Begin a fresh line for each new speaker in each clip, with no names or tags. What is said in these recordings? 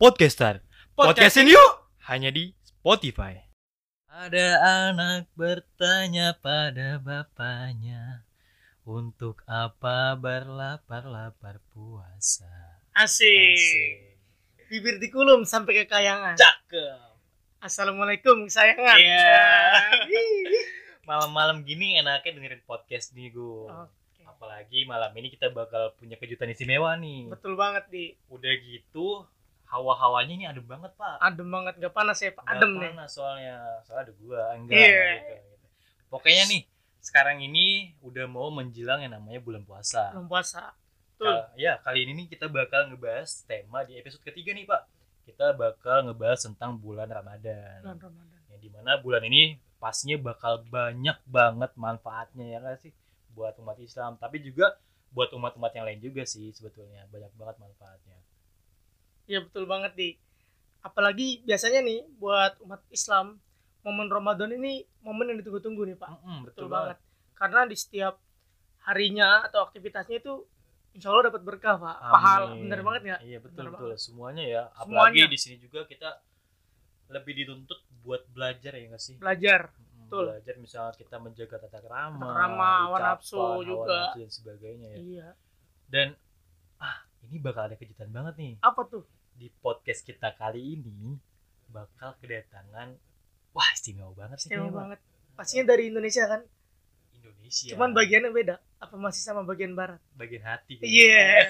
Podcaster. Podcastin yuk. Hanya di Spotify.
Ada anak bertanya pada bapaknya Untuk apa berlapar-lapar puasa
Asik.
Asik.
Bibir dikulum sampai ke kayangan.
Cakep
Assalamualaikum sayangan.
Iya.
Ih.
Malam-malam gini enaknya dengerin podcast nih gue
Oke.
Apalagi malam ini kita bakal punya kejutan istimewa nih
Betul banget di
Udah gitu hawa-hawanya ini adem banget pak
adem banget gak panas ya Pak.
Nggak
Adem nih.
panas soalnya soalnya ada gua enggak
Iya.
gitu, gitu. pokoknya nih sekarang ini udah mau menjelang yang namanya bulan puasa
Belum puasa. Betul.
Kal- ya kali ini nih kita bakal ngebahas tema di episode ketiga nih pak kita bakal ngebahas tentang bulan ramadan
Bulan Ramadan.
yang dimana bulan ini pasnya bakal banyak banget manfaatnya ya nggak sih buat umat Islam tapi juga buat umat-umat yang lain juga sih sebetulnya banyak banget manfaatnya
Iya betul banget di. Apalagi biasanya nih buat umat Islam momen Ramadan ini momen yang ditunggu-tunggu nih Pak.
Mm-mm,
Betul, banget. Karena di setiap harinya atau aktivitasnya itu Insya Allah dapat berkah Pak.
Amin.
Pahala bener banget ya.
Iya betul
Bener
betul semuanya ya. Apalagi
Semuanya.
di sini juga kita lebih dituntut buat belajar ya nggak sih?
Belajar.
Mm,
betul.
Belajar misalnya kita menjaga tata krama,
Tata krama, hawa
ucapan,
nafsu
hawa
juga.
nafsu dan sebagainya ya.
Iya.
Dan ah ini bakal ada kejutan banget nih
Apa tuh?
di podcast kita kali ini bakal kedatangan wah istimewa banget sih
Keren
kayaknya,
banget. Pastinya dari Indonesia kan.
Pak. Indonesia.
Cuman bagiannya beda. Apa masih sama bagian barat?
bagian hati. kayaknya.
Iya.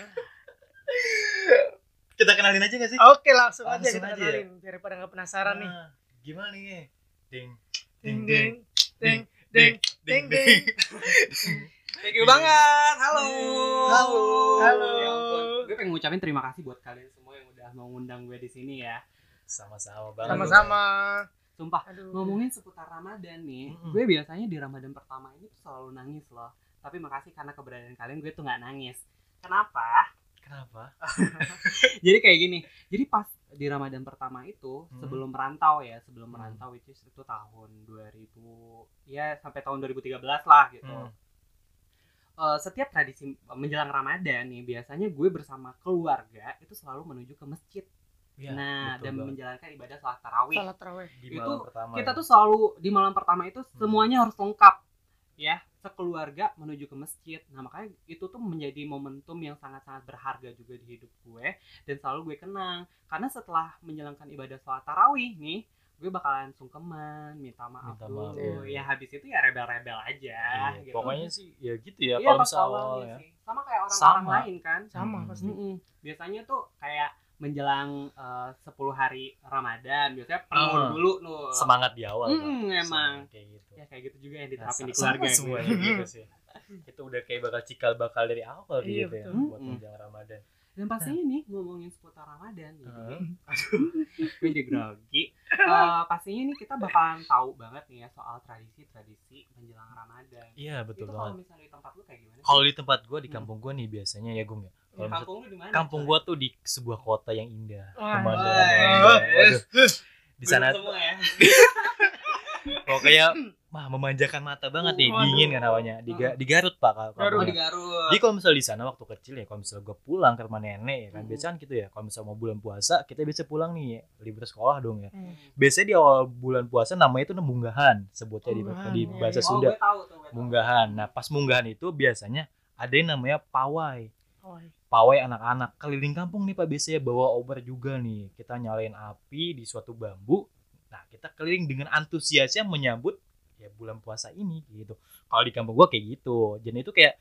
Kita kenalin aja nggak sih?
Oke langsung, aja
Langsung
kita
aja ya?
kenalin biar pada nggak penasaran nih.
Ah, Gimana nih? Ding
Ding
ding
ding ding
ding ding
ding. ding,
ding.
Thank you banget. Halo.
Halo. Halo.
Ya ampun. Gue pengen ngucapin terima kasih buat kalian semua yang udah mau ngundang gue di sini ya.
Sama-sama banget.
Sama-sama.
Sumpah,
Aduh.
ngomongin seputar Ramadan nih.
Mm-mm.
Gue biasanya di Ramadan pertama ini tuh selalu nangis loh. Tapi makasih karena keberadaan kalian gue tuh nggak nangis. Kenapa?
Kenapa?
Jadi kayak gini. Jadi pas di Ramadan pertama itu
Mm-mm.
sebelum merantau ya, sebelum
Mm.
merantau which is itu tahun 2000 ya sampai tahun 2013 lah gitu.
Hmm. Oh,
Eh, setiap tradisi menjelang Ramadan nih biasanya gue bersama keluarga itu selalu menuju ke masjid.
Ya, betul
nah, dan
banget.
menjalankan ibadah sholat tarawih.
Salat terawih.
di
itu
malam pertama.
Kita
ya.
tuh selalu di malam pertama itu
Hmm.
semuanya harus lengkap ya, sekeluarga menuju ke masjid. Nah, makanya itu tuh menjadi momentum yang sangat-sangat berharga juga di hidup gue dan selalu gue kenang karena setelah menjalankan ibadah sholat tarawih nih gue bakalan sungkeman, minta maaf
Minta
dulu.
maaf.
Ya habis itu ya rebel-rebel aja
Iya,
gitu.
Pokoknya sih ya gitu ya
Iya,
kalau
pas
misal awal
awalnya
ya.
sih. Sama kayak orang-orang
Sama.
lain kan.
Sama
Hmm.
pasti.
Mm-mm. Biasanya tuh kayak menjelang eh, 10 hari Ramadan, biasanya penuh
Ah.
dulu tuh.
Semangat di awal.
Mm,
Pak.
emang.
Semangat Kayak gitu.
Ya kayak gitu juga yang
Nah,
diterapin di
sama
keluarga. gue.
semuanya gitu sih. Itu udah kayak bakal cikal bakal dari awal gitu
Iya,
ya
betul.
buat
Mm-mm.
menjelang Ramadan. Iya.
Dan pastinya nih ngomongin seputar Ramadan gitu.
Nah. Heeh.
gue jadi grogi. Eh, pastinya nih kita bakalan tahu banget nih ya soal tradisi-tradisi menjelang Ramadan.
Iya, betul
itu kalau
banget.
misalnya di tempat lu kayak gimana? sih?
Kalau di tempat gua di
Hmm.
kampung gua nih biasanya ya Gung ya. Kalau misal-
kampung lu di mana?
kampung gua tuh di sebuah kota yang indah.
Wah.
Pemandangannya
Wah.
indah. Waduh, Di
Belum
sana Iya.
semua ya.
pokoknya mah memanjakan mata banget nih
Waduh.
dingin kan hawanya di, Ga- di Garut pak kalau
Garut.
Oh,
kalau
di
nggak.
Uh, Garut.
jadi kalau misal di sana waktu kecil ya kalau misal gue pulang ke rumah nenek ya kan
Mm.
biasanya kan gitu ya kalau misal mau bulan puasa kita bisa pulang nih ya, libur sekolah dong ya
Hmm.
biasanya di awal bulan puasa namanya itu nembunggahan sebutnya di,
Unggahan,
di
iya,
bahasa
iya.
Oh,
Sunda
gue tahu tuh, gue tahu.
munggahan nah pas munggahan itu biasanya ada yang namanya pawai
Oh, iya.
pawai anak-anak keliling kampung nih pak biasanya bawa obor juga nih kita nyalain api di suatu bambu nah kita keliling dengan antusiasnya menyambut ya bulan puasa ini gitu kalau di kampung gua kayak gitu jadi itu kayak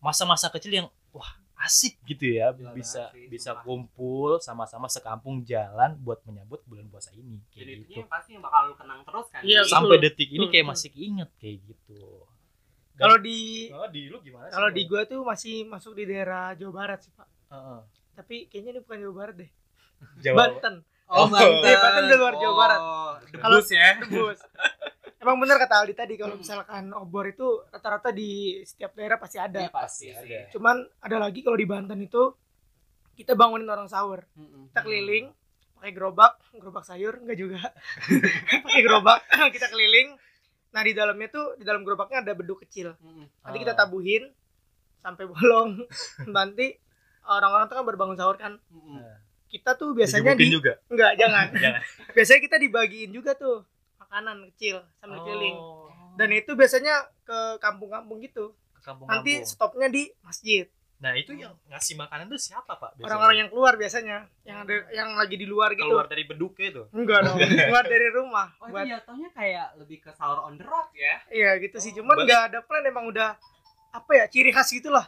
masa-masa kecil yang wah asik gitu ya
Gila
bisa
banget sih,
bisa
sumpah.
kumpul sama-sama sekampung jalan buat menyambut bulan puasa ini
Jadi
kayak
itunya
gitu
yang pasti yang bakal lu kenang terus kan.
Iya,
Sam-
sampai
Betul,
detik ini
betul,
kayak
betul.
masih inget kayak gitu
Kalau di
kalau di lu gimana
kalau di gua tuh masih masuk di daerah Jawa Barat sih Pak.
Heeh.
Tapi kayaknya ini bukan Jawa Barat deh.
Jawa
Banten.
Oh,
Oh, Banten.
iya, Banten di luar Jawa Barat.
Oh,
Kalau-
debus ya.
Bus. Emang bener kata Aldi tadi
Hmm.
kalau misalkan obor itu rata-rata di setiap daerah pasti ada.
Iya, pasti
Pasti
sih.
ada.
Cuman ada lagi kalau di Banten itu kita bangunin orang sahur.
Mm-mm.
kita
Hmm.
keliling pakai gerobak gerobak sayur enggak juga pakai gerobak kita keliling nah di dalamnya tuh di dalam gerobaknya ada beduk kecil
Mm-mm.
nanti
Ah.
kita tabuhin sampai bolong nanti orang-orang tuh kan berbangun sahur kan.
Mm-mm.
Kita tuh biasanya di
juga.
enggak jangan.
Jangan.
biasanya kita dibagiin juga tuh makanan kecil
Oh.
sambil keliling. Dan itu biasanya ke kampung-kampung gitu.
Ke kampung
Nanti stopnya di masjid.
Nah, itu yang ngasih makanan tuh siapa, Pak? biasanya?
Hmm. Orang-orang yang keluar biasanya, yang ada yang lagi di luar gitu.
keluar dari beduk itu.
Enggak dong, keluar dari rumah.
Oh,
buat
itu jatuhnya kayak lebih ke sahur on the road ya.
Iya gitu sih, cuman
Balik.
nggak ada plan emang udah apa ya ciri khas gitulah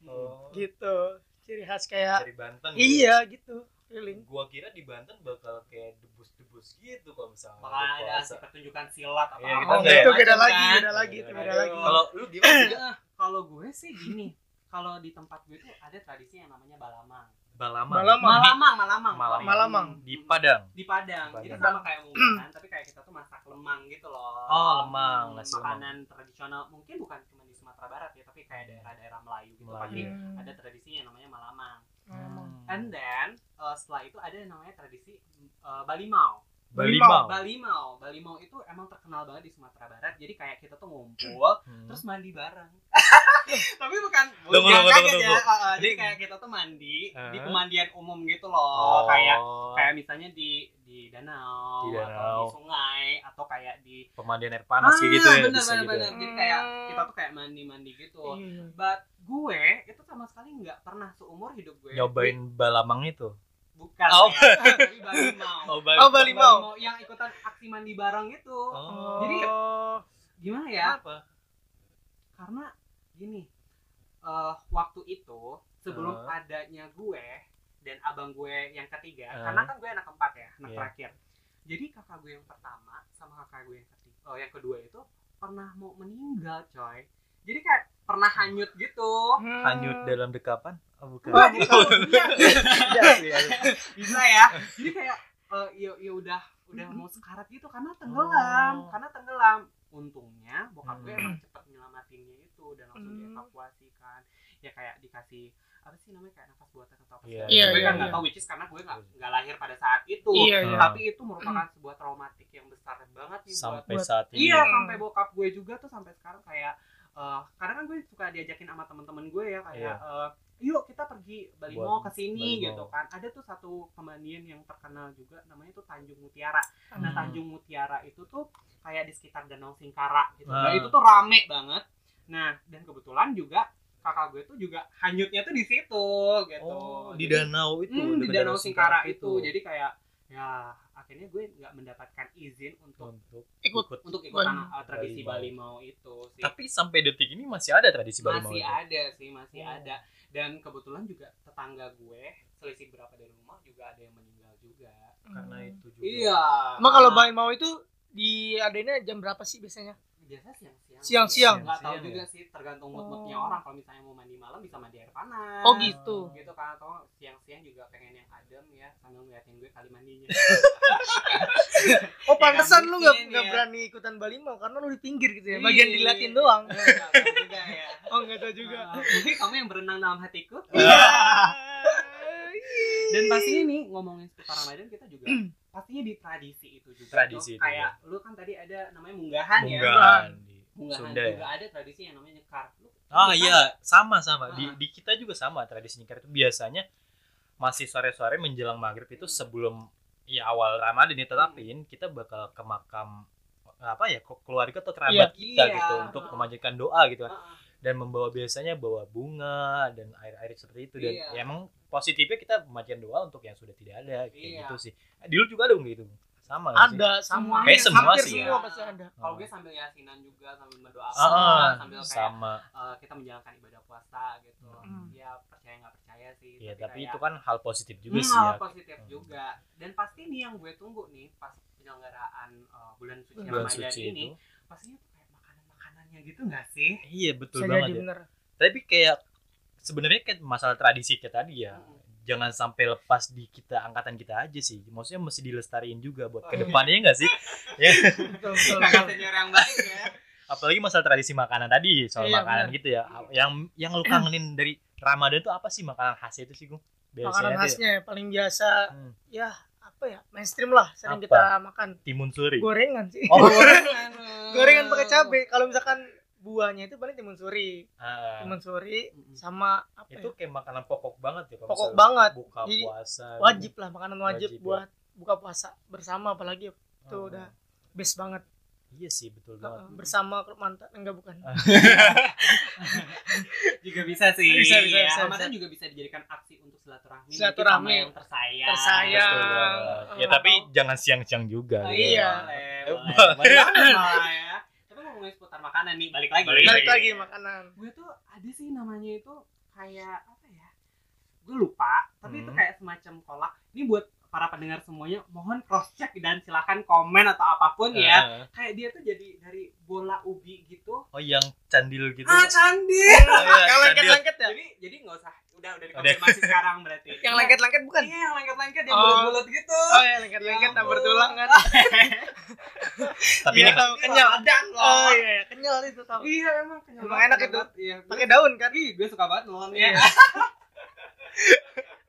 Hmm.
gitu.
gitu. Ciri khas kayak
Dari Banten. gitu.
Hmm, iya gitu, keliling.
Gua kira di Banten bakal kayak debus-debus gitu kalau misalnya.
Bakal
buka
ada
puasa.
pertunjukan silat apa
Iya, kita
Oh,
nggak
itu
macam
beda
kan.
lagi, beda lagi, itu beda
Aduh.
lagi.
Kalau lu gimana? Juga?
Eh, Kalau gue sih gini, kalau di tempat gue tuh ada tradisi yang namanya balamang.
Balamang.
Malam
Malamang, malamang.
Malamang.
Malamang.
Di Padang.
di Padang.
Di
Jadi
Padang.
sama kayak unggahan, tapi kayak kita tuh masak lemang gitu loh.
Hmm. Oh, lemang,
Hmm,
nasi
Makanan tradisional mungkin bukan cuma di Sumatera Barat ya, tapi kayak daerah-daerah Melayu gitu.
Melayu.
Pasti
Iya.
ada tradisi yang namanya malamang.
Hmm.
And then uh, setelah itu ada yang namanya tradisi uh, Balimau.
Balimau.
Balimau, Balimau itu emang terkenal banget di Sumatera Barat. Jadi kayak kita tuh ngumpul,
Hmm.
terus mandi bareng. Tapi bukan,
Tunggu,
jangan
tunggu,
kaget
tunggu,
ya.
tunggu.
Ah,
Uh, uh, jadi
Ini-
kayak kita tuh mandi di
Hah?
pemandian umum gitu
Oh,
loh, kayak kayak misalnya di di danau,
Gitu. Di danau.
atau di sungai atau kayak di Ah,
pemandian air
Ah,
panas kayak gitu ya
bener,
bisa
bener,
gitu.
bener.
ya.
jadi kayak kita tuh kayak mandi mandi gitu
Iya. Hmm.
but gue itu sama sekali nggak pernah seumur hidup gue
Nyobain balamang itu.
bukan
Oh.
ya, tapi balimau
Oh, Balimau.
Balimau yang ikutan aksi mandi bareng itu
Oh.
Jadi,
Oh.
gimana ya
Kenapa?
karena gini eh waktu itu sebelum
Huh?
adanya gue dan abang gue yang ketiga
Huh?
karena kan gue anak keempat ya anak
Iya.
terakhir jadi kakak gue yang pertama sama kakak gue yang ketiga oh yang kedua itu pernah mau meninggal coy jadi kayak pernah hanyut gitu
Hanyut dalam dekapan? Oh, bukan.
Wah, bukan.
Iya,
bisa ya jadi kayak eh, ya ya udah udah mau sekarat gitu karena tenggelam
Oh.
karena tenggelam untungnya bokap gue
Hmm.
emang cepet nyelamatinnya itu dan langsung
Hmm.
dievakuasi kan ya kayak dikasih apa sih namanya kayak nafas buatan atau apa sih
Iya,
Iya,
gue
iya,
kan nggak
iya.
tahu which is karena gue nggak nggak lahir pada saat itu
Iya,
iya.
tapi itu merupakan sebuah traumatik yang besar banget nih buat
Sampai
Buat-
saat ini.
Iya,
Hmm.
sampai bokap gue juga tuh sampai sekarang kayak eh karena kan gue suka diajakin sama teman-teman gue ya kayak eh, yuk kita pergi Bali
Buat
Mall ke sini
Bali Mall.
gitu kan. Ada tuh satu pemandian yang terkenal juga namanya tuh Tanjung Mutiara.
Hmm.
Nah, Tanjung Mutiara itu tuh kayak di sekitar Danau Singkara gitu.
Ah.
Nah, itu tuh rame banget. Nah, dan kebetulan juga kakak gue tuh juga hanyutnya tuh di situ gitu.
Oh, di
Jadi-
danau itu.
Hmm, di
dekat
Danau Singkara itu. Jadi kayak ya akhirnya gue nggak mendapatkan izin untuk
untuk
Ikut.
ikut.
untuk
Bali.
ikutan uh, tradisi
Bali
Bali mau itu sih.
Tapi sampai detik ini masih ada tradisi Balimau
masih
itu.
ada sih, masih
Iya.
Oh.
ada. Dan kebetulan juga tetangga gue selisih berapa dari rumah juga ada yang meninggal juga.
Karena itu juga.
Iya.
Emang kalau
karena
Bang mau itu di adanya jam berapa sih biasanya?
biasa siang-siang.
Siang-siang.
Nggak
Siang-siang
tahu
ya.
juga sih tergantung mood-moodnya
Oh.
orang kalau misalnya mau mandi malam bisa mandi air panas.
Oh gitu.
gitu kan atau siang-siang juga pengen yang adem ya sambil ngeliatin gue kali mandinya.
Oh pantesan lu nggak
mungkin,
nggak
ya.
berani ikutan Balimau karena lu di pinggir gitu ya,
Iya,
bagian
Ih.
dilatin doang.
Iya, Nggak tahu juga ya.
Oh nggak tahu juga.
Ah, mungkin kamu yang berenang dalam hatiku.
Iya.
Dan pastinya nih ngomongin seputar Ramadan kita juga pastinya di tradisi itu juga.
Tradisi
Dok.
itu,
kayak lu kan tadi ada namanya munggahan, ya.
Munggahan di
Munggahan
Sunda ya.
juga ada tradisi yang namanya nyekar. Lu,
Ah
lu
iya, sama sama. Di,
Ah.
di kita juga sama tradisi nyekar itu biasanya masih sore-sore menjelang maghrib itu sebelum ya awal Ramadan
Hmm.
ditetapin kita bakal ke makam apa ya ke- keluarga atau kerabat
Iya.
kita
Iya.
gitu untuk memanjatkan doa gitu
Ah, ah.
dan membawa biasanya bawa bunga dan air-air seperti itu dan
Iya.
ya emang positifnya kita memanjatkan doa untuk yang sudah tidak ada kayak
Iya.
gitu sih. Eh, Dulu juga ada gitu. Sama nggak sih?
Ada sama.
Iya. Kayak semua
Hampir
sih ya.
semua pasti ada.
Kalau gue sambil yasinan juga sambil berdoa,
Ah, ah,
sambil kayak
sama.
eh, kita menjalankan ibadah puasa gitu.
Hmm.
Ya percaya nggak percaya sih.
Ya, tapi
kayak-
itu kan hal positif juga
Hmm,
sih
hal
ya.
positif juga. Dan pasti nih yang gue tunggu nih pas penyelenggaraan eh, bulan suci
Bulan
Ramadan
suci
ini,
itu.
pastinya tuh kayak makanan-makanannya gitu nggak sih?
Iya, betul
Bisa
banget.
jadi
ya.
bener.
tapi kayak sebenarnya kayak masalah tradisi kayak tadi ya
Mm.
jangan sampai lepas di kita angkatan kita aja sih maksudnya mesti dilestariin juga buat
Oh, iya.
kedepannya nggak sih Ya.
Betul betul.
Iya,
Kakak senior yang baik ya.
apalagi masalah tradisi makanan tadi soal
Iya,
makanan gitu ya yang yang lu kangenin dari Ramadan tuh apa sih makanan khasnya itu sih gue
Makanan
biasanya tuh ya,
khasnya ya, paling biasa
Hmm.
ya apa ya mainstream lah sering
Apa?
kita makan
timun suri
gorengan sih.
oh
Gorengan.
gorengan pakai cabai kalau misalkan buahnya itu paling timun suri
Ah,
timun suri
Mm-mm.
sama apa
itu
ya?
kayak makanan pokok banget ya kalau
Pokok
misalnya
banget.
buka
Jadi,
puasa gitu.
wajib lah makanan
Wajib,
wajib,
ya.
buat buka puasa bersama apalagi itu
Ah,
udah best banget
iya sih betul banget Ah,
Heeh, bersama klub mantan enggak bukan
juga bisa sih.
Bisa, bisa,
ya.
bisa,
Amatan
bisa.
juga bisa dijadikan aksi untuk silaturahmi.
Silaturahmi.
mungkin sama yang tersayang.
Tersayang.
Betul
yang-
banget.
eh,
ya tapi
atau-
jangan siang-siang juga
Oh,
gitu.
iya.
Eh,
Boleh, boleh. Boleh banget malah ya. Tapi ngomongin seputar makanan nih, balik lagi.
Balik Iya,
balik lagi makanan
Gue tuh ada sih namanya itu kayak apa ya? Gue lupa, tapi itu
Hmm.
kayak semacam kolak. Ini buat para pendengar semuanya, mohon cross check dan silakan komen atau apapun
Iya.
ya.
Ah,
Kayak dia tuh jadi dari bola ubi gitu.
oh yang candil gitu
Ah, candi.
iya,
yang lengket lengket ya
jadi jadi nggak usah udah udah dikonfirmasi sekarang berarti
yang lengket lengket bukan
iya yang lengket-lengket yang
Oh.
bulat-bulat gitu
oh ya lengket
Ya
lengket tak
ampun.
bertulang kan
tapi
Iya,
ini
tahu, kenyal
dan
oh iya iya, kenyal itu tau
iya emang kenyal
Emang
banget,
enak
kenyal
itu.
banget. iya
pakai daun kan
ih gue suka banget loh
Iya.
iya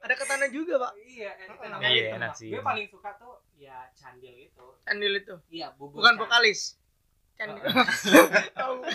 ada ketannya juga pak
iya enak,
Iya,
banget.
iya, enak sih,
gue
enak.
paling suka tuh ya candil itu
candil Oh. itu
iya bubur
bukan
candil.
vokalis candil tahu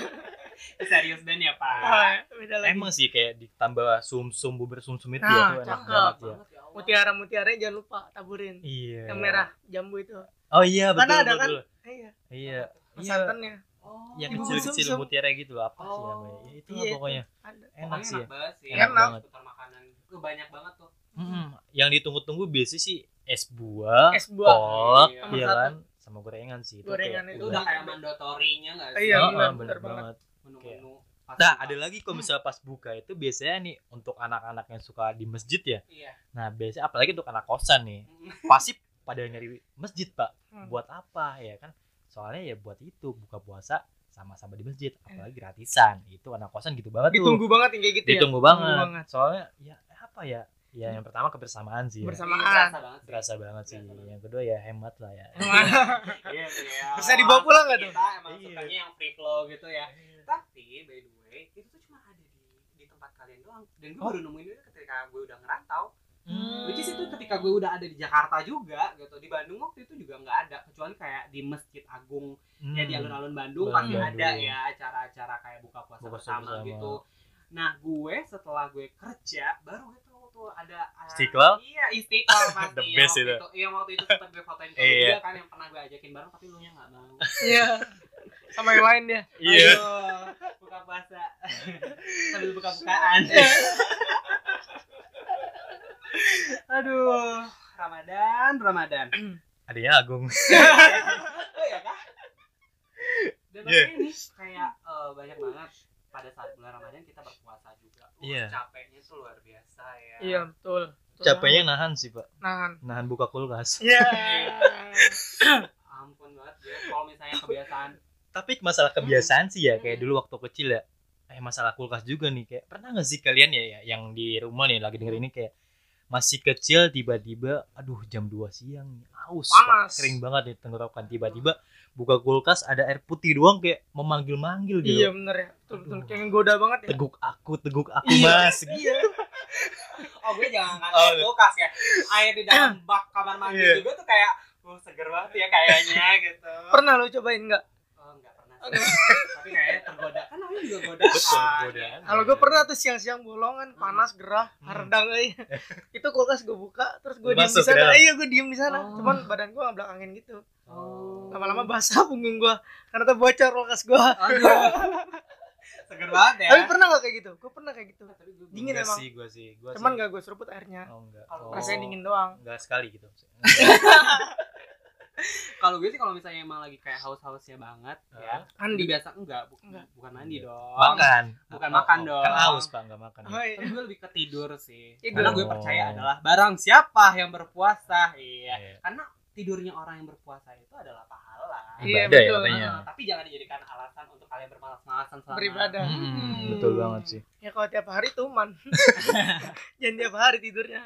serius dan ya
Oh,
pak
ya, beda lagi
emang sih kayak ditambah sum-sum bubur sum-sum itu
Nah,
ya tuh enak
cakep.
banget ya
ya Allah.
mutiara mutiara jangan lupa taburin
iya
yang merah jambu itu
oh iya betul
Karena ada kan?
betul.
iya
iya
sama
Iya.
santannya
oh,
yang
Bubur
kecil-kecil
sumsum.
mutiara gitu loh, apa sih
Oh,
namanya ya, itu
iya,
pokoknya
ada
enak sih ya.
banget sih
Enak
Emang
banget.
seputar makanan gue banyak banget tuh
Mm-mm. yang ditunggu-tunggu biasanya sih es buah
es buah
kolak
Iya.
iya
Sama
kan sama gorengan sih itu
Gorengan
kayak
itu
Iya.
udah kayak mandatorinya nggak sih
Iya,
Oh,
benar,
oh, bener
bener
banget.
banget.
menu-menu pas
Nah,
buka.
ada lagi kalau misalnya pas buka itu biasanya nih untuk anak-anak yang suka di masjid ya.
iya
Nah, biasanya apalagi untuk anak kosan nih,
Mm.
pasti pada nyari masjid, Pak.
Hmm.
Buat apa ya kan? Soalnya ya buat itu buka puasa sama-sama di masjid, apalagi gratisan. Itu anak kosan gitu banget tuh.
ditunggu banget yang kayak gitu ya
Iya, Ditunggu banget.
Ditunggu banget.
Soalnya ya apa ya? Ya yang pertama kebersamaan sih. ya.
Iya,
bersamaan
berasa banget
Berasa
sih.
banget sih.
Berasa banget.
Yang kedua ya hemat lah ya.
Iya, iya.
bisa dibawa pulang nggak tuh Iya.
Kita emang
Iya.
sukanya yang free flow gitu ya. Tapi by the way, itu tuh cuma ada di di tempat kalian doang. Dan gue
Oh.
baru nemuin itu ketika gue udah ngerantau.
Hmm.
Which is itu ketika gue udah ada di Jakarta juga gitu. Di Bandung waktu itu juga nggak ada kecuali kayak di Masjid Agung
Hmm.
ya di alun-alun Bandung pasti
Bandung.
ada ya acara-acara kayak buka puasa
Buka puasa
bersama
bersama.
gitu. Nah gue setelah gue kerja baru gue tahu tuh ada uh,
Istiqlal?
Iya istiqlal pasti.
The
yang
best
waktu
itu.
Yang waktu itu sempat gue fotoin ke lu
Iya.
juga kan yang pernah gue ajakin bareng tapi lu nya nggak mau.
iya sama yang lain dia
Iya.
Ayo, buka puasa sambil buka-bukaan.
Iya.
Aduh Ramadan Ramadan.
Adanya Agung.
Oh iya kah? Dan
Iya.
maksudnya ini kayak eh, banyak banget pada saat bulan Ramadan kita berpuasa juga. Wah,
Iya.
capeknya tuh luar biasa ya.
iya betul Betul
Capeknya nahan sih, Pak.
banget. nahan
Nahan buka kulkas.
iya
Ampun banget ya kalau misalnya kebiasaan.
tapi masalah kebiasaan sih ya kayak dulu waktu kecil ya eh masalah kulkas juga nih kayak pernah nggak sih kalian ya ya, yang di rumah nih lagi denger ini kayak masih kecil tiba-tiba aduh jam 2 siang nih aus
Panas.
Pak. kering banget di tenggorokan tiba-tiba buka kulkas ada air putih doang kayak memanggil-manggil gitu
iya bener ya betul betul kayak ngegoda banget ya
teguk aku teguk aku
Iya.
mas gitu
Oh gue
Oh,
jangan ngatain
iya.
kulkas ya. Air di dalam bak kamar mandi
Iya.
juga tuh kayak wah seger banget ya kayaknya gitu.
pernah lo cobain nggak
Oh enggak pernah.
Oh,
sih. Tapi kayaknya tergoda. Kan namanya juga kan. godaan.
Betul, godaan.
Iya. kalau gue pernah tuh siang-siang bolongan panas gerah
Iya. Hmm.
hardang euy. itu kulkas gue buka terus gue diem di
Masuk ya? ke
sana
dalam.
iya gue diem di sana
Oh.
cuman badan gue nggak angin gitu
Oh.
lama-lama basah punggung gue karena tuh bocor kulkas gue
Aduh. Seger banget ya.
tapi pernah nggak kayak gitu gue pernah kayak gitu
Tapi gue-
Dingin
Nggak
emang.
sih gue sih gue
cuman gak gue seruput airnya
oh, enggak
Kalau
oh,
rasanya dingin doang
enggak sekali gitu
kalau gue sih kalau misalnya emang lagi kayak haus-hausnya banget ya mandi
Andi
biasa enggak, bu-
Enggak.
bukan mandi
Iya.
dong
makan
Bukan makan dong.
kan aus pak enggak makan
oh, iya.
tapi gue lebih ke tidur sih
Tidur.
karena gue
Oh.
percaya adalah barang siapa yang berpuasa iya
Iya.
karena tidurnya orang yang berpuasa itu adalah pahala
Ibadah ya
Iya, betul.
katanya.
Ah, tapi jangan dijadikan alasan untuk kalian bermalas-malasan selama
beribadah
Hmm,
Hmm.
betul banget sih.
ya kalau tiap hari tuman jangan tiap hari tidurnya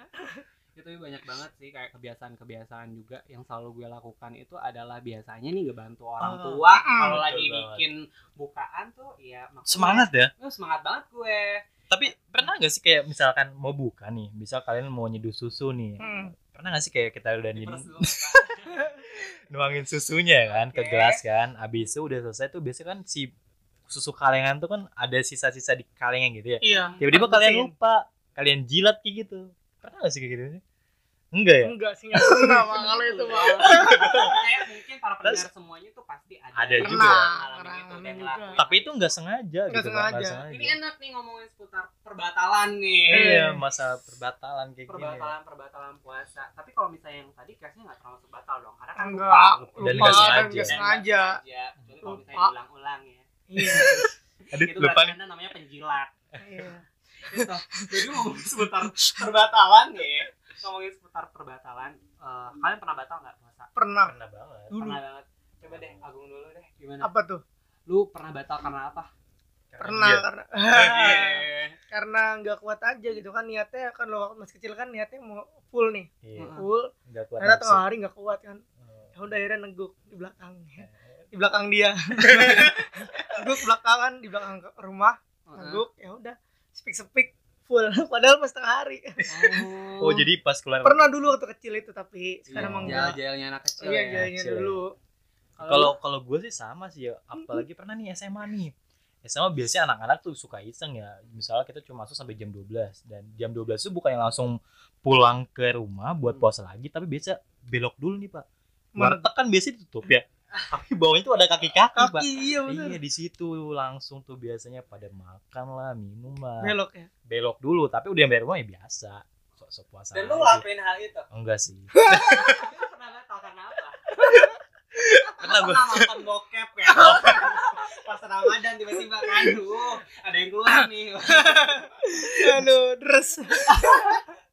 itu Iya, banyak banget sih kayak kebiasaan-kebiasaan juga yang selalu gue lakukan itu adalah biasanya nih ngebantu orang
Ah,
tua kalau
betul
lagi
banget.
bikin bukaan tuh ya maksudnya-
Semangat ya.
Eh, semangat banget gue
Tapi pernah nggak sih kayak misalkan mau buka nih, bisa kalian mau nyeduh susu nih.
Hmm.
Pernah nggak sih kayak kita udah
Terus
nyen-
dulu, Kak.
nuangin susunya ya kan ke
Oke.
gelas kan, abis itu udah selesai tuh biasanya kan si susu kalengan tuh kan ada sisa-sisa di kalengan gitu ya
Iya.
tiba-tiba
pantesin.
kalian lupa kalian jilat kayak gitu pernah gak sih kayak gitu enggak ya
Enggak sih enggak pernah mahal itu Bang.
Iya. Kayak mungkin para pendengar semuanya tuh pasti ada.
Ada
yang
juga.
mengalami gitu
Pernah,
dan
juga.
ngelakuin.
tapi itu nggak sengaja
Nggak
gitu Bang,
sengaja. kan
nggak
Ini enak nih ngomongin seputar perbatalan nih.
iya
Hmm.
masalah perbatalan kayak gini
Perbatalan perbatalan puasa. Tapi kalau misalnya yang tadi case-nya nggak terlalu batal dong, karena kan
Enggak,
lupa.
Dan
lupa
nggak sengaja.
dan nggak sengaja.
Iya, kecuali kalau
Lupa.
misalnya ulang-ulang ya.
Iya.
aduh
itu
lupa
lupa
nih
namanya penjilat.
Iya.
Gitu. Jadi ngomongin seputar perbatalan nih. Ngomongin seputar perbatalan, eh, kalian pernah batal nggak puasa?
Pernah.
pernah banget
Dulu
Pernah banget. Coba deh Agung dulu deh. Gimana?
apa tuh?
Lu pernah batal karena apa?
Pernah
Iya.
karena karena nggak kuat aja gitu kan niatnya kan lo waktu masih kecil kan niatnya mau full nih
Iya,
Heeh.
full
nggak kuat
ternyata
nafsu. Oh.
tengah hari nggak kuat kan ya udah akhirnya neguk di belakang di belakang dia neguk belakangan di belakang rumah
Heeh.
neguk ya udah sepik sepik full padahal pas tengah hari
oh jadi pas keluar
pernah dulu waktu kecil itu tapi
Iya,
sekarang emang enggak
jail-jailnya Iya, anak kecil.
iya
ya.
jalannya
kecil ya.
dulu
kalau kalau gue sih sama sih ya apalagi pernah nih SMA nih SMA biasanya anak-anak tuh suka iseng ya misalnya kita cuma masuk sampai jam 12 dan jam 12 itu bukan yang langsung pulang ke rumah buat puasa lagi tapi biasa belok dulu nih pak warteg kan biasanya ditutup ya tapi bawahnya tuh ada kaki-kaki pak
kaki iya
iya
bener
di situ langsung tuh biasanya pada makan lah minum lah
belok ya
belok dulu tapi udah sampai rumah ya biasa sok-sok puasa
Dan lu
aja.
ngelakuin hal itu.
enggak sih
Tapi lu pernah batal karena apa?
Pernah
Lu
gua. Oh.
pernah makan bokep ya. Pas Ramadan tiba-tiba aduh, ada yang keluar nih.
aduh deres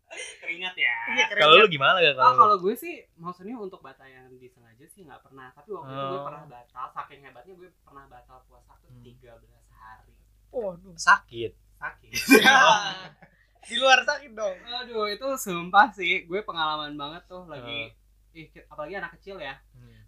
Keringat ya.
Iya, keren
kalau
ya.
lu gimana gak
Oh,
kalau lu?
kalau gue sih maksudnya untuk batal yang disengaja sih nggak pernah. Tapi waktu itu gue
Oh.
pernah batal. Saking hebatnya gue pernah batal puasa tuh
Hmm.
13 hari.
waduh
sakit
Sakit.
di luar sakit dong
Aduh, itu sumpah sih. Gue pengalaman banget tuh lagi. Ih, apalagi anak kecil ya.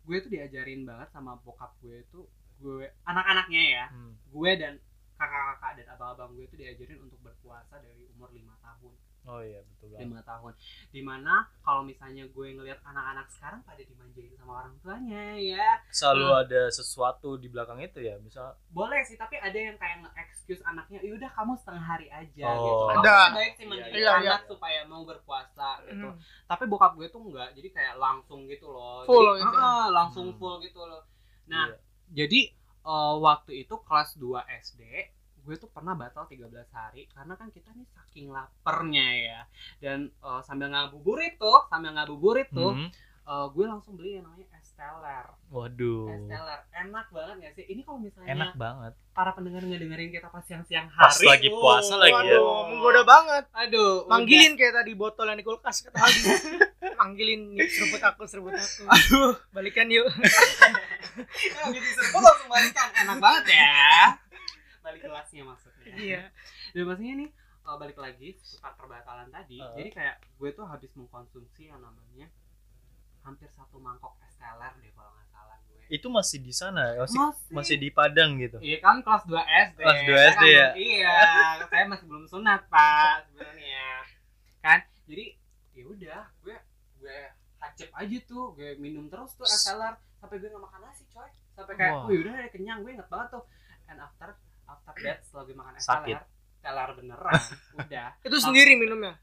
gue tuh diajarin banget sama bokap gue tuh gue anak-anaknya ya
Hmm.
gue dan kakak-kakak dan abang-abang gue tuh diajarin untuk berpuasa dari umur lima tahun
oh iya betul banget
lima tahun dimana kalau misalnya gue ngelihat anak-anak sekarang pada dimanjain sama orang tuanya ya
selalu ada sesuatu di belakang itu ya misal
boleh sih tapi ada yang kayak nge-excuse anaknya "Ya udah kamu setengah hari aja
Oh.
gitu
Ada.
Maksudnya baik sih
Iya,
mendidik
iya, iya.
anak supaya mau berpuasa gitu
Hmm.
tapi bokap gue tuh enggak jadi kayak langsung gitu loh
Full
Jadi,
gitu ya?
"Ah, langsung
Hmm.
full gitu loh nah
iya.
Jadi eh, waktu itu kelas 2 SD, gue tuh pernah batal 13 hari karena kan kita nih saking lapernya ya. Dan eh, sambil ngabuburit tuh, sambil ngabuburit tuh,
Hmm.
eh, gue langsung beli yang namanya es teler.
waduh
Es teler enak banget gak sih? Ini kalau misalnya
enak banget
para pendengar ngedengerin kita pas siang-siang
Pas
hari.
lagi puasa lagi ya.
Waduh, menggoda banget.
Aduh,
Manggilin kayak tadi botol yang di kulkas kata Aldi. Manggilin nih serbut aku, serbut aku.
Aduh.
Balikan yuk.
udah. Habis diserbu langsung balikan. Enak banget ya. Balik kelasnya maksudnya.
Iya.
Dan maksudnya nih uh, balik lagi seputar perbatalan tadi.
Uh.
Jadi kayak gue tuh habis mengkonsumsi yang namanya hampir satu mangkok es teler deh kalau nggak salah gue.
itu masih di sana ya? masih Iya, masih di Padang gitu
Iya kan kelas 2 SD.
Kelas 2 SD
Saya
ya?
belum- Iya, saya masih belum sunat, Pak, sebenarnya. Kan? Jadi ya udah, gue gue hacep aja tuh, gue minum terus tuh es teler sampai gue nggak makan nasi, coy. Sampai kayak,
Wah.
"Wih, udah deh, kenyang, gue inget banget tuh." And after after that setelah gue makan es
Sakit.
teler, teler beneran. udah.
Itu sendiri minumnya.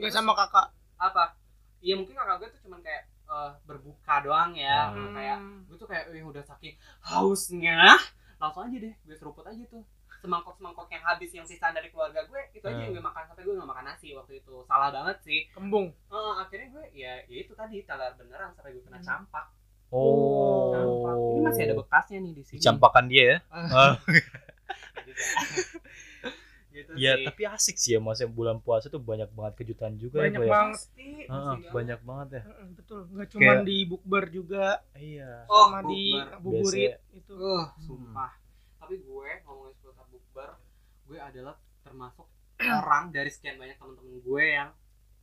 Enggak sama kakak.
apa ya mungkin kakak gue tuh cuman kayak eh, berbuka doang ya
Hmm.
kayak gue tuh kayak yang udah saking hausnya langsung aja deh gue seruput aja tuh semangkok semangkok yang habis yang sisa dari keluarga gue itu aja
Hmm.
yang gue makan sampai gue gak makan nasi waktu itu salah banget sih
Kembung.
Eh, akhirnya gue ya, ya itu tadi telar beneran sampai gue kena
Hmm.
campak campak
oh
ini masih ada bekasnya nih di sini
dicampakan dia ya
Gitu. gitu
ya
sih.
tapi asik sih ya maksudnya bulan puasa tuh banyak banget kejutan juga ya,
Banyak
Boy.
banget.
pasti
Heeh,
pasti
banyak banget ya
Mm-mm, Betul. Enggak cuma
Kayak-
di bukber juga
iya
oh
sama di
bukber.
buburit gitu. itu.
Uh, sumpah. Tapi gue ngomongin seputar bukber, gue adalah termasuk orang dari sekian banyak teman-teman gue yang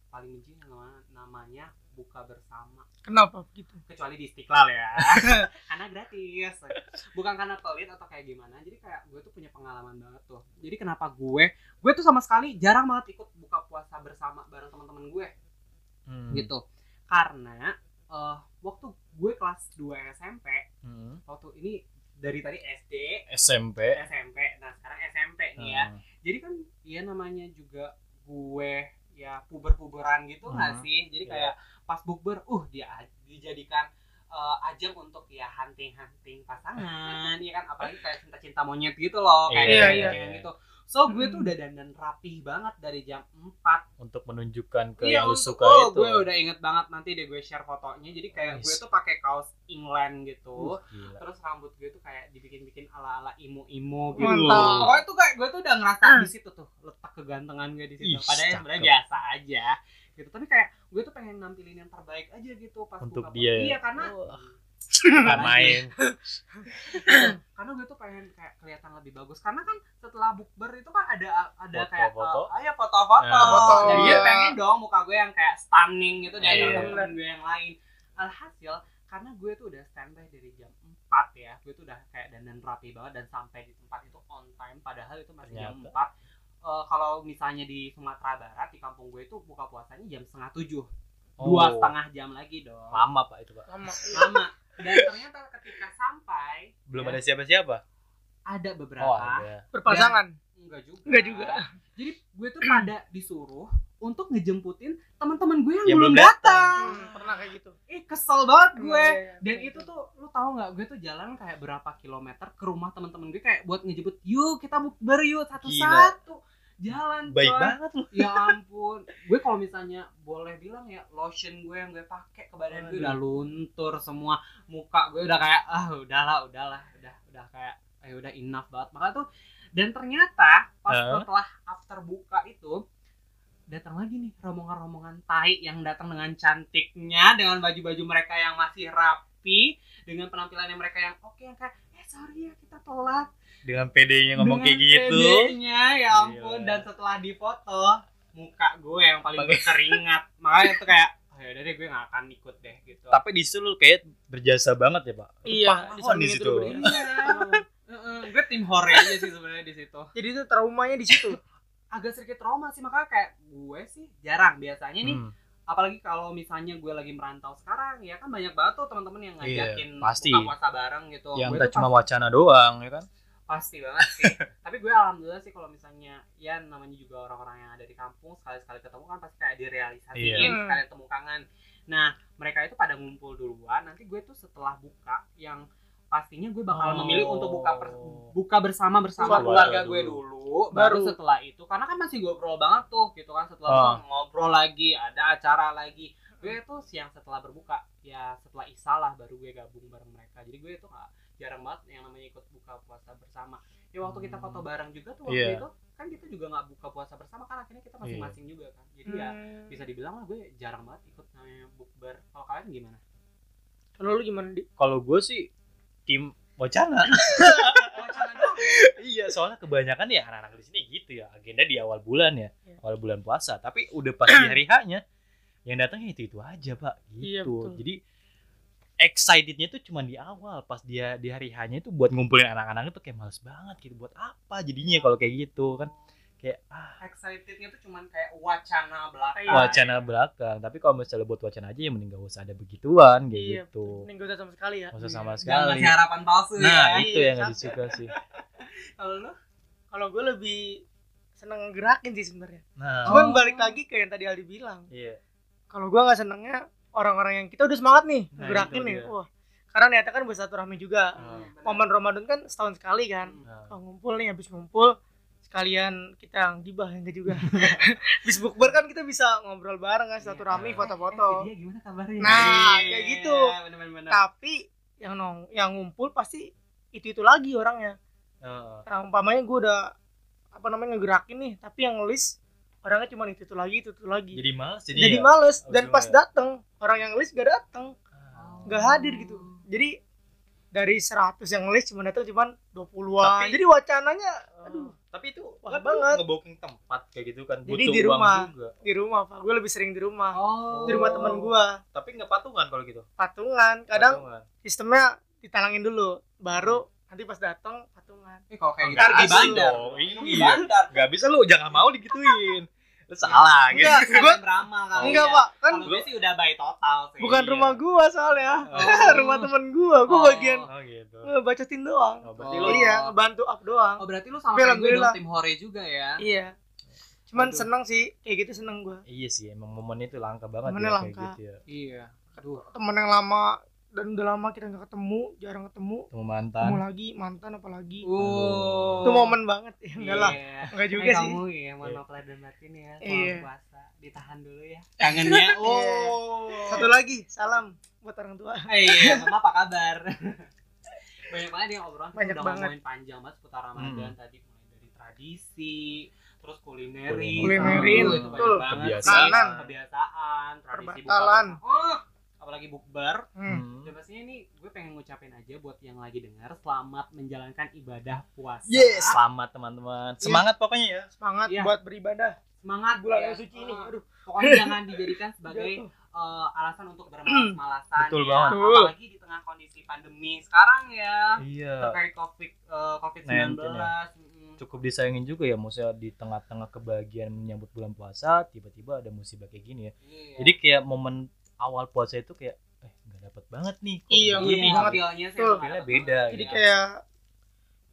paling benci sama namanya buka bersama
Kenapa begitu?
kecuali di Istiqlal ya karena gratis bukan karena pelit atau kayak gimana jadi kayak gue tuh punya pengalaman banget tuh jadi kenapa gue gue tuh sama sekali jarang banget ikut buka puasa bersama bareng teman-teman gue
Hmm.
gitu karena eh, waktu gue kelas 2 SMP
Hmm.
waktu ini dari tadi SD,
SMP.
SMP. Nah, sekarang SMP nih
Hmm.
ya. Jadi kan ya namanya juga gue ya puber-puberan gitu nggak
Mhm.
sih? Jadi
Iya.
kayak pas bukber, uh dia dijadikan eh, ajang untuk ya hunting-hunting pasangan, ya kan apalagi kayak cinta-cinta monyet gitu loh, kayak
Iya,
kayak
iya. Hmm.
gitu. So gue tuh udah dandan rapih banget dari jam 4
Untuk menunjukkan ke
Iya,
yang lu suka
untuk- oh,
itu.
gue udah inget banget nanti deh gue share fotonya. Jadi kayak
Nice. Uh.
gue tuh pakai kaos England gitu.
Gila.
Terus rambut gue tuh kayak dibikin-bikin ala-ala imo-imo gitu.
Mantap.
Oh, itu kayak gue tuh udah ngerasa di situ tuh letak kegantengan gue di
Ah.
situ.
Ih,
Padahal sebenarnya
cakep.
biasa aja gitu. Tapi kayak gue tuh pengen nampilin yang terbaik aja gitu pas
Untuk
buka-
dia ya?
Iya, karena
Bukan main.
karena gue tuh pengen kayak kelihatan lebih bagus karena kan setelah bukber itu kan ada ada kayak
Foto-foto.
eh, ah, ya foto-foto
Ya,
foto.
jadi
Iya.
gue pengen dong muka gue yang kayak stunning gitu dari
Iya.
temen gue yang lain alhasil karena gue tuh udah standby dari jam 4 ya gue tuh udah kayak dandan rapi banget dan sampai di tempat itu on time padahal itu masih jam
Ternyata.
4 Eh, kalau misalnya di Sumatera Barat di kampung gue itu buka puasanya jam setengah tujuh
Oh.
dua setengah jam lagi dong
Lama Pak itu Pak.
Lama.
lama dan ternyata ketika sampai
Belum
ya,
ada siapa-siapa.
ada beberapa
Oh, ada.
Berpasangan.
Enggak juga.
Enggak juga.
Jadi gue tuh pada disuruh untuk ngejemputin teman-teman gue yang
Yang
belum
belum
datang.
Hmm, pernah kayak gitu.
Ih, kesel banget gue.
Iya, iya,
Dan
iya.
itu tuh lu tahu nggak gue tuh jalan kayak berapa kilometer ke rumah teman-teman gue kayak buat ngejemput, "Yuk, kita bukber yuk satu-satu." Jalan
Baik
coy.
banget lu.
Ya ampun. gue kalau misalnya boleh bilang ya lotion gue yang gue pakai ke badan gue udah luntur semua. Muka gue udah kayak ah udahlah, udahlah, udah udah kayak ayo udah enough banget. Makanya tuh dan ternyata pas
Heeh.
setelah after buka itu datang lagi nih rombongan-rombongan tai yang datang dengan cantiknya dengan baju-baju mereka yang masih rapi dengan penampilannya mereka yang oke yang kayak eh sorry ya kita telat
Dengan PD-nya ngomong kayak gitu.
nya ya
Gila.
ampun dan setelah difoto muka gue yang paling berkeringat makanya itu kayak oh, yaudah deh gue gak akan ikut deh gitu
Tapi di situ lu kayak berjasa banget ya Pak.
Iya,
Pahlawan
samping
di
itu
situ. Hmm.
udah berdiri.
Iya. Heeh, gue tim hore aja sih sebenarnya di situ
Jadi itu traumanya di situ.
agak sedikit trauma sih makanya kayak gue sih jarang biasanya nih
Hmm.
apalagi kalau misalnya gue lagi merantau sekarang ya kan banyak banget tuh teman-teman yang
Iya,
ngajakin
pasti.
buka puasa bareng gitu
Yang
Gue
nggak
tuh
cuma wacana doang ya kan?
pasti banget sih tapi gue alhamdulillah sih kalau misalnya ya namanya juga orang-orang yang ada di kampung sekali-sekali ketemu kan pasti kayak direalisasiin
Iya.
sekalian temu kangen nah mereka itu pada ngumpul duluan nanti gue tuh setelah buka yang pastinya gue bakal
Oh.
memilih untuk buka per- buka bersama bersama
Keluarga
keluarga
dulu.
gue dulu baru
Baru.
setelah itu karena kan masih ngobrol banget tuh gitu kan setelah
Ah.
itu ngobrol lagi ada acara lagi gue tuh siang setelah berbuka ya setelah isya lah baru gue gabung bareng mereka jadi gue tuh nggak jarang banget yang namanya ikut buka puasa bersama. Ya waktu kita foto bareng juga tuh
Iya.
waktu itu kan kita juga nggak buka puasa bersama kan akhirnya kita masing-masing juga kan. Jadi ya
Hmm.
bisa dibilang lah gue jarang banget ikut namanya bukber. Kalau kalian gimana?
Kalau lu gimana, Di?
Kalau gue sih tim wacana.
Wacana doang.
iya soalnya kebanyakan ya anak-anak di sini gitu ya agenda di awal bulan ya
Iya.
awal bulan puasa tapi udah pas di hari hanya yang datang itu itu aja pak gitu
Iya, betul.
jadi excitednya tuh cuma di awal pas dia di hari hanya itu buat ngumpulin anak-anak itu kayak males banget gitu buat apa jadinya kalau kayak gitu kan kayak ah
Excitednya tuh cuman kayak wacana belakang.
Iya.
wacana belakang tapi kalau misalnya buat wacana aja ya mending gak usah ada begituan kayak
Iya,
gitu
Mending gak usah sama sekali ya.
gak usah sama
Jangan
sekali
kasih harapan palsu
nah
ya.
itu
Iya,
yang gak disuka sih
Kalau lu
Kalau gue lebih seneng gerakin sih sebenarnya.
nah
Cuman balik lagi ke yang tadi Aldi bilang.
iya
Kalau gue nggak senengnya orang-orang yang kita udah semangat nih
Nah,
gerakin
itu
nih.
dia.
Wah, karena niatnya kan bersilaturahmi juga.
Hmm.
Bener.
Momen Ramadan kan setahun sekali kan.
Hmm.
nah,
Kalau ngumpul nih habis ngumpul sekalian kita gibah yang juga. habis bukber kan kita bisa ngobrol bareng kan
Iya.
silaturahmi
Eh, si
foto-foto.
dia gimana kabarnya? Iya,
Nah, kayak gitu.
bener-bener.
Tapi yang nong yang ngumpul pasti itu-itu lagi orangnya.
nah,
Nah, umpamanya gue udah apa namanya ngegerakin nih, tapi yang ngelis orangnya cuma itu itu lagi, itu itu lagi. Jadi,
jadi males jadi, ya-
males
Oh,
dan
gimana
pas
ya?
dateng orang yang ngelis gak dateng,
Ah.
gak hadir gitu. Jadi dari 100 yang ngelis cuma datang cuman 20-an.
Tapi- Oh.
Jadi wacananya
Aduh, tapi itu
Wah,
kan
banget.
ngeboking tempat kayak gitu kan.
Jadi
butuh
di
uang
rumah.
juga.
di rumah, Pak. Gue lebih sering di rumah.
Oh.
Di rumah teman gue,
Tapi nggak patungan kalau gitu.
patungan. Kadang
Patungan.
sistemnya ditalangin dulu, baru nanti pas datang patungan.
Eh, kalau kayak gitu
Ntar
di
gitu
bandar.
dong.
Di
Iya.
bandar.
Nggak bisa lu jangan mau digituin. lu salah gitu.
Enggak,
Kalian
gua,
beramal kali
enggak
ya.
pak. Kan
Kalau gue sih udah by total sih.
bukan
Iya.
rumah gua soalnya. rumah temen gua. Gua
Oh.
bagian
Oh gitu.
ngebacotin doang.
Oh, berarti
Oh.
lu
Iya, ngebantu up doang.
Oh berarti lu sama kayak gue
Tapi
dong
alhamdulillah.
tim hore juga ya.
Iya. Cuman
Aduh.
seneng sih, kayak gitu seneng gua.
Iya sih, emang momen itu langka banget
Momennya
ya,
langka.
kayak gitu ya.
Iya. Aduh.
Temen yang lama dan udah lama kita nggak ketemu, jarang ketemu.
Temu mantan.
Ketemu lagi, mantan apalagi.
Uh.
Itu momen banget. Ya, enggak lah. Enggak juga
eh,
sih.
kamu ya monopla dan batin ya selama
Iya.
puasa ditahan dulu ya kangennya oh
Satu lagi, salam buat orang tua.
Eh, iya mama apa kabar banyak banget yang obrolan
Banyak
udah
banget.
ngomongin panjang banget seputar
Hmm.
ramadan tadi mulai dari tradisi terus kulineri
Kulineri,
sahur, itu
betul.
banyak banget
Kebiasaan.
sih. kebiasaan tradisi
Perbatalan.
buka oh, apalagi bukber
Hmm.
dan pastinya ini gue pengen ngucapin aja buat yang lagi dengar selamat menjalankan ibadah puasa
Yes. Iya.
Selamat teman-teman. Semangat pokoknya ya.
Semangat
Iya.
buat beribadah
semangat
bulan
ya.
yang suci ini.
Ah.
Aduh,
pokoknya jangan dijadikan sebagai
jatuh.
eh, alasan untuk bermalas-malasan
Betul
ya.
banget.
Betul.
apalagi di tengah kondisi pandemi sekarang ya
Iya.
terkait covid eh, covid
19
19
Cukup disayangin juga ya maksudnya di tengah-tengah kebahagiaan menyambut bulan puasa tiba-tiba ada musibah kayak gini ya.
Iya.
Iya.
Jadi kayak momen awal puasa itu kayak eh nggak dapet banget nih. Kok
Iya,
begini? gitu."
ngerti
iya,
banget.
feelnya sih
Betul.
emang
Feelnya
dapat
beda,
banget.
Jadi
Iya.
kayak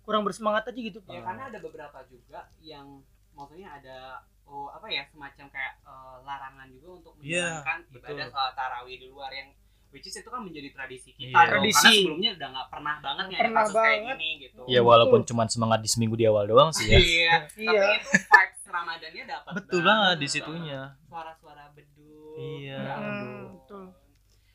kurang bersemangat aja gitu.
ya karena ada beberapa juga yang maksudnya ada oh, apa ya semacam kayak eh, larangan juga untuk
Iya,
menjalankan ibadah
betul.
salat tarawih di luar yang which is itu kan menjadi tradisi
Iya.
kita dong.
Tradisi.
karena sebelumnya udah nggak pernah banget
Nggak
ya ada
pernah
kasus kayak
banget.
gini gitu
Ya walaupun cuman semangat di seminggu di awal doang sih ya.
iya tapi
Iya.
itu vibes ramadannya dapat
Betul banget di situnya.
suara-suara beduk
Iya,
ya
Hmm,
ampun.
betul.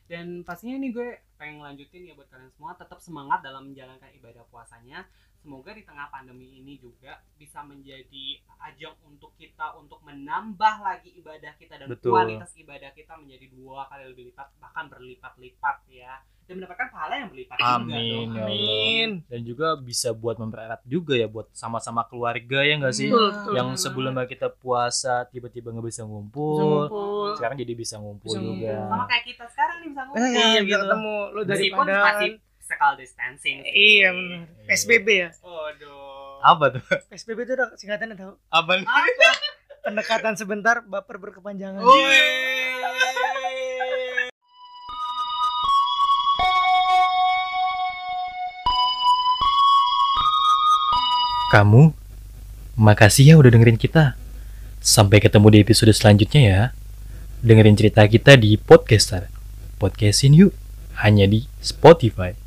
dan pastinya nih gue pengen lanjutin ya buat kalian semua tetap semangat dalam menjalankan ibadah puasanya semoga di tengah pandemi ini juga bisa menjadi ajang untuk kita untuk menambah lagi ibadah kita dan
Betul.
kualitas ibadah kita menjadi dua kali lebih lipat bahkan berlipat-lipat ya dan mendapatkan pahala yang berlipat
Amin,
juga
ya
dong.
Allah.
Amin.
Dan juga bisa buat mempererat juga ya buat sama-sama keluarga ya enggak sih?
Betul, betul.
Yang sebelumnya kita puasa tiba-tiba nggak bisa
Bisa
ngumpul.
ngumpul.
Sekarang jadi bisa ngumpul
Bisa
juga.
ngumpul.
sama kayak kita sekarang nih bisa ngumpul
Iya,
Iya, bisa
gitu.
ketemu lu dari
meskipun masih physical distancing sih.
Iya, benar. PSBB ya.
Waduh.
Apa tuh?
PSBB itu udah singkatannya tau.
Apa nih?
Pendekatan sebentar, baper berkepanjangan.
Oh, iya.
Kamu, makasih ya udah dengerin kita. Sampai ketemu di episode selanjutnya ya. Dengerin cerita kita di Podcaster. Podcastin yuk, hanya di Spotify.